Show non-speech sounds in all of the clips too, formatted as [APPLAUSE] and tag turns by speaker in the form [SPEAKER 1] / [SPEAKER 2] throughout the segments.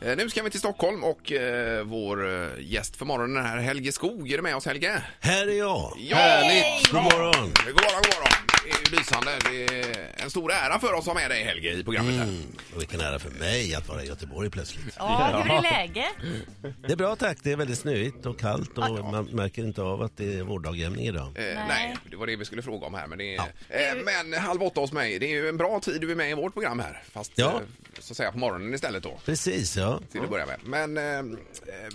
[SPEAKER 1] Eh, Nu ska vi till Stockholm och eh, vår eh, gäst för morgonen här, Helge Skog. Är du med oss Helge?
[SPEAKER 2] Här är jag!
[SPEAKER 1] Ja!
[SPEAKER 2] Härligt!
[SPEAKER 1] Bra!
[SPEAKER 2] God morgon!
[SPEAKER 1] God morgon, god morgon. Det är ju lysande. Det är en stor ära för oss att ha med dig Helge i programmet här.
[SPEAKER 2] Mm, och vilken ära för mig att vara i Göteborg plötsligt.
[SPEAKER 3] Ja, hur är läget?
[SPEAKER 2] Det är bra tack, det är väldigt snöigt och kallt och man märker inte av att det är vårdagjämning idag.
[SPEAKER 1] Eh,
[SPEAKER 3] Nej.
[SPEAKER 1] nej, det var det vi skulle fråga om här. Men, det är, eh, men halv åtta hos mig, det är ju en bra tid du är med i vårt program här. Fast
[SPEAKER 2] Ja.
[SPEAKER 1] eh, så att säga på morgonen istället då.
[SPEAKER 2] Precis ja.
[SPEAKER 1] Till att börja med. Men eh,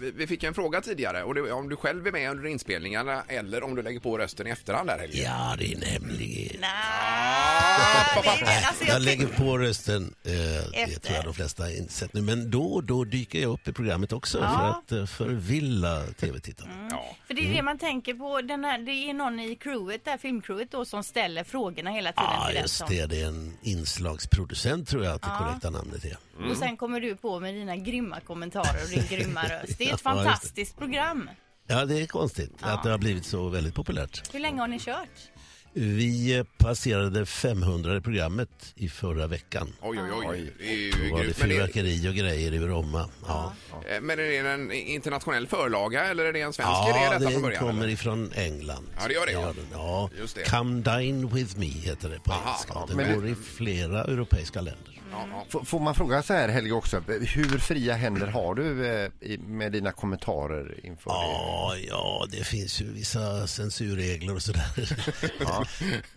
[SPEAKER 1] vi, vi fick en fråga tidigare och det, om du själv är med under inspelningarna eller om du lägger på rösten i efterhand där Helge.
[SPEAKER 2] Ja, det är en hemlighet.
[SPEAKER 3] Nej,
[SPEAKER 1] Ah,
[SPEAKER 3] det är väl, alltså,
[SPEAKER 2] Jag
[SPEAKER 3] jag
[SPEAKER 2] lägger
[SPEAKER 3] tänk-
[SPEAKER 2] på rösten, eh, det
[SPEAKER 3] Efter.
[SPEAKER 2] tror jag de flesta har insett nu. Men då och då dyker jag upp i programmet också för att eh, förvilla tv-tittarna.
[SPEAKER 1] Ja.
[SPEAKER 3] för det är ju det man tänker på, den här, det är någon i crewet, där filmcrewet då, som ställer frågorna hela tiden
[SPEAKER 2] Ja,
[SPEAKER 3] till den
[SPEAKER 2] just
[SPEAKER 3] som-
[SPEAKER 2] det. Det är en inslagsproducent tror jag att det korrekta namnet är.
[SPEAKER 3] Och sen kommer du på med dina grymma kommentarer och din
[SPEAKER 2] [LAUGHS]
[SPEAKER 3] grymma röst. Det är ett
[SPEAKER 2] Ja, just det.
[SPEAKER 3] fantastiskt program.
[SPEAKER 2] Ja, det är konstigt att det har blivit så väldigt populärt.
[SPEAKER 3] Hur länge har ni kört?
[SPEAKER 2] Vi eh, passerade 500 i programmet i förra veckan.
[SPEAKER 1] Oj, oj, oj. Det är ju
[SPEAKER 2] Då var det
[SPEAKER 1] grymt. Men, det,
[SPEAKER 2] fyrverkeri och grejer i Bromma. Ja,
[SPEAKER 1] eh, men är det en internationell förlaga eller är det en svensk idé
[SPEAKER 2] ja
[SPEAKER 1] detta från
[SPEAKER 2] det
[SPEAKER 1] början?
[SPEAKER 2] kommer
[SPEAKER 1] eller?
[SPEAKER 2] ifrån England.
[SPEAKER 1] Ja, det gör det, ja.
[SPEAKER 2] den. Ja.
[SPEAKER 1] Just det.
[SPEAKER 2] Come dine with me heter det på engelska. Den
[SPEAKER 4] men-
[SPEAKER 2] går i flera europeiska länder.
[SPEAKER 1] Ja, ja.
[SPEAKER 4] F- får man fråga så här Helge också, hur fria händer har du eh, i- med dina kommentarer inför det?
[SPEAKER 2] Ja, ja, det finns ju vissa censurregler
[SPEAKER 1] [LAUGHS]
[SPEAKER 2] och sådär. ja.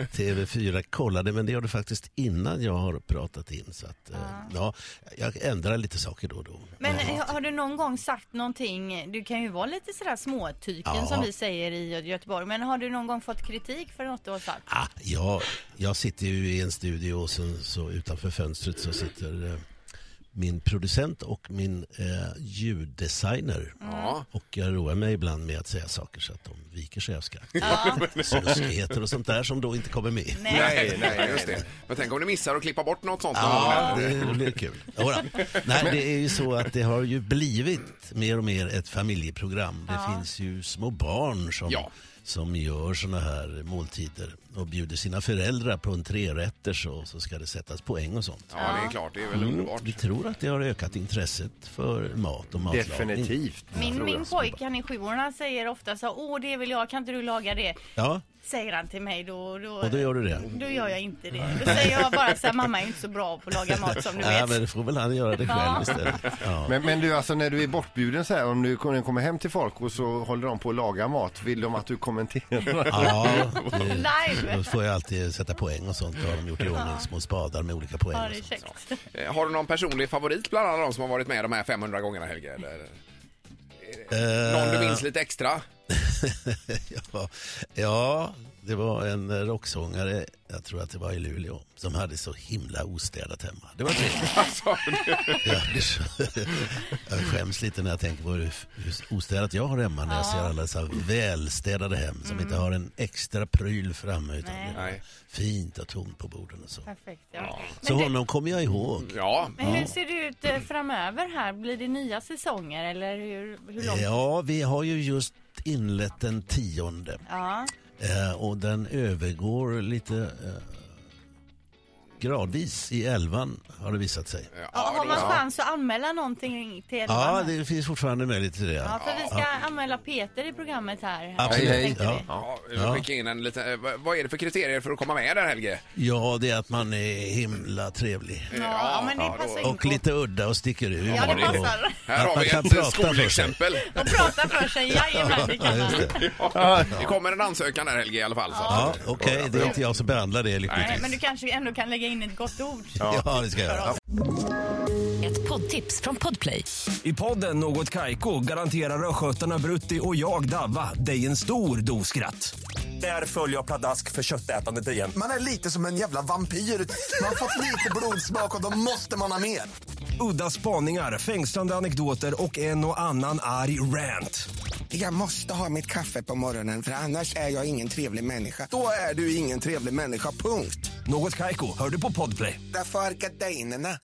[SPEAKER 2] TV4 kollade, men det gör det faktiskt innan jag har pratat in. Så att, eh, ja, jag ändrar lite saker då och då.
[SPEAKER 3] Men
[SPEAKER 2] Ja.
[SPEAKER 3] har- har du någon gång sagt någonting, du kan ju vara lite sådär småtyken
[SPEAKER 2] Ja.
[SPEAKER 3] som vi säger i Göteborg, men har du någon gång fått kritik för något du har sagt?
[SPEAKER 2] Ah, ja, jag sitter ju i en studio och sen så utanför fönstret så sitter eh, min producent och min eh, ljuddesigner.
[SPEAKER 1] Ja.
[SPEAKER 2] Och jag roar mig ibland med att säga saker så att de viker sig av skratt. Ja. Snuskigheter och sånt där som då inte kommer med.
[SPEAKER 4] Nej, nej,
[SPEAKER 1] Just det. Men tänk om du missar och klippa bort något sånt.
[SPEAKER 2] Ja,
[SPEAKER 1] någon gång.
[SPEAKER 2] det blir kul. Jodå. Nej, det är ju så att det har ju blivit mer och mer ett familjeprogram. Det finns ju små barn som,
[SPEAKER 1] Ja.
[SPEAKER 2] som gör såna här måltider och bjuder sina föräldrar på en trerätters och så ska det sättas poäng och sånt.
[SPEAKER 1] Ja, det är klart. Det är
[SPEAKER 2] Mm.
[SPEAKER 1] väl underbart.
[SPEAKER 2] Vi tror att det har ökat intresset för mat och matlagning.
[SPEAKER 4] Definitivt.
[SPEAKER 3] Min,
[SPEAKER 4] tror jag.
[SPEAKER 3] min pojk, han är sju år, han säger ofta så åh det vill jag, kan inte du laga det?
[SPEAKER 2] Ja,
[SPEAKER 3] Säger han till mig då. då
[SPEAKER 2] och då gör du det.
[SPEAKER 3] Då gör jag inte det. Då säger jag bara så här, mamma är inte så bra på att laga mat som du
[SPEAKER 2] Nej,
[SPEAKER 3] vet.
[SPEAKER 2] men det får väl han göra det själv
[SPEAKER 3] Ja.
[SPEAKER 2] istället. Ja.
[SPEAKER 4] [LAUGHS] Men, men du, alltså när du är bortbjuden så här, om du kommer kommer hem till folk och så håller de på att laga mat, vill de att du kommenterar?
[SPEAKER 2] Ja,
[SPEAKER 3] Live.
[SPEAKER 2] det, då får jag alltid sätta poäng och sånt. Då har de gjort i ordning små spadar med olika poäng.
[SPEAKER 3] Ja,
[SPEAKER 2] och
[SPEAKER 3] det är
[SPEAKER 2] sånt.
[SPEAKER 3] käckt.
[SPEAKER 1] Eh, Har du någon personlig favorit bland alla de som har varit med de här 500 gångerna Helge? Eller? Någon du minns lite extra?
[SPEAKER 2] Eh,
[SPEAKER 1] [LAUGHS]
[SPEAKER 2] [LAUGHS] ja, ja, det var en eh, rocksångare, jag tror att det var i Luleå, som hade så himla ostädat hemma. Det
[SPEAKER 1] [LAUGHS]
[SPEAKER 2] var trevligt.
[SPEAKER 1] Alltså,
[SPEAKER 2] jag, blir så- [LAUGHS] jag skäms lite när jag tänker på hur, hur ostädat jag har hemma när jag ser alla så här välstädade hem som inte har en extra pryl framme utan det är
[SPEAKER 1] Mm. Nej.
[SPEAKER 2] fint och tomt på borden och så.
[SPEAKER 3] Perfekt. Ja.
[SPEAKER 2] Så
[SPEAKER 3] Men, du,
[SPEAKER 2] honom kommer jag ihåg.
[SPEAKER 1] Ja.
[SPEAKER 3] men hur ser det ut eh, framöver här? Blir det nya säsonger eller hur, hur långt?
[SPEAKER 2] Ja, vi har ju just inlett den tionde.
[SPEAKER 3] Ja.
[SPEAKER 2] Eh, och den övergår lite eh, gradvis i elvan har det visat sig.
[SPEAKER 1] Ja,
[SPEAKER 3] Ja, har
[SPEAKER 1] det-
[SPEAKER 3] man
[SPEAKER 1] ja.
[SPEAKER 3] chans att anmäla någonting till
[SPEAKER 2] Ja,
[SPEAKER 3] elvan?
[SPEAKER 2] det finns fortfarande möjlighet till det.
[SPEAKER 3] Ja, för vi ska anmäla Peter i programmet här.
[SPEAKER 2] Absolut.
[SPEAKER 4] Hej, hej.
[SPEAKER 3] tänkte
[SPEAKER 2] Ja.
[SPEAKER 3] vi.
[SPEAKER 1] Ja, jag fick in en liten, eh, vad- vad är det för kriterier för att komma med där Helge?
[SPEAKER 2] ja, det är att man är himla trevlig.
[SPEAKER 3] Ja, men det passar in
[SPEAKER 2] Och
[SPEAKER 3] på.
[SPEAKER 2] lite udda och sticker ut.
[SPEAKER 3] Ja, det
[SPEAKER 2] Och-
[SPEAKER 3] passar.
[SPEAKER 1] Här
[SPEAKER 2] att
[SPEAKER 1] har
[SPEAKER 2] man
[SPEAKER 1] vi
[SPEAKER 2] kan
[SPEAKER 1] ett
[SPEAKER 2] prata för sig.
[SPEAKER 1] skolexempel.
[SPEAKER 3] Och prata för sig, jajamän det
[SPEAKER 2] [LAUGHS] Ja,
[SPEAKER 3] kan man.
[SPEAKER 2] just det.
[SPEAKER 1] Det kommer en ansökan där Helge i alla fall. Så.
[SPEAKER 2] Ja,
[SPEAKER 1] att-
[SPEAKER 2] okej, det är inte jag som behandlar det
[SPEAKER 3] Nej, men du
[SPEAKER 2] lyckligtvis.
[SPEAKER 3] kanske ändå kan lägga in ett gott ord.
[SPEAKER 2] Ja, det ska jag göra.
[SPEAKER 5] Ett poddtips från Podplay.
[SPEAKER 6] I podden Något Kaiko garanterar östgötarna Brutti och jag, Davva, dig en stor dos skratt. Där följer jag pladask för köttätandet igen.
[SPEAKER 7] Man är lite som en jävla vampyr. Man har fått lite blodsmak och då måste man ha mer.
[SPEAKER 6] Udda spaningar, fängslande anekdoter och en och annan arg rant.
[SPEAKER 7] Jag måste ha mitt kaffe på morgonen för annars är jag ingen trevlig människa. Då är du ingen trevlig människa, punkt.
[SPEAKER 6] Något Kaiko, hör du på Podplay.
[SPEAKER 7] Därför arkadeinerna.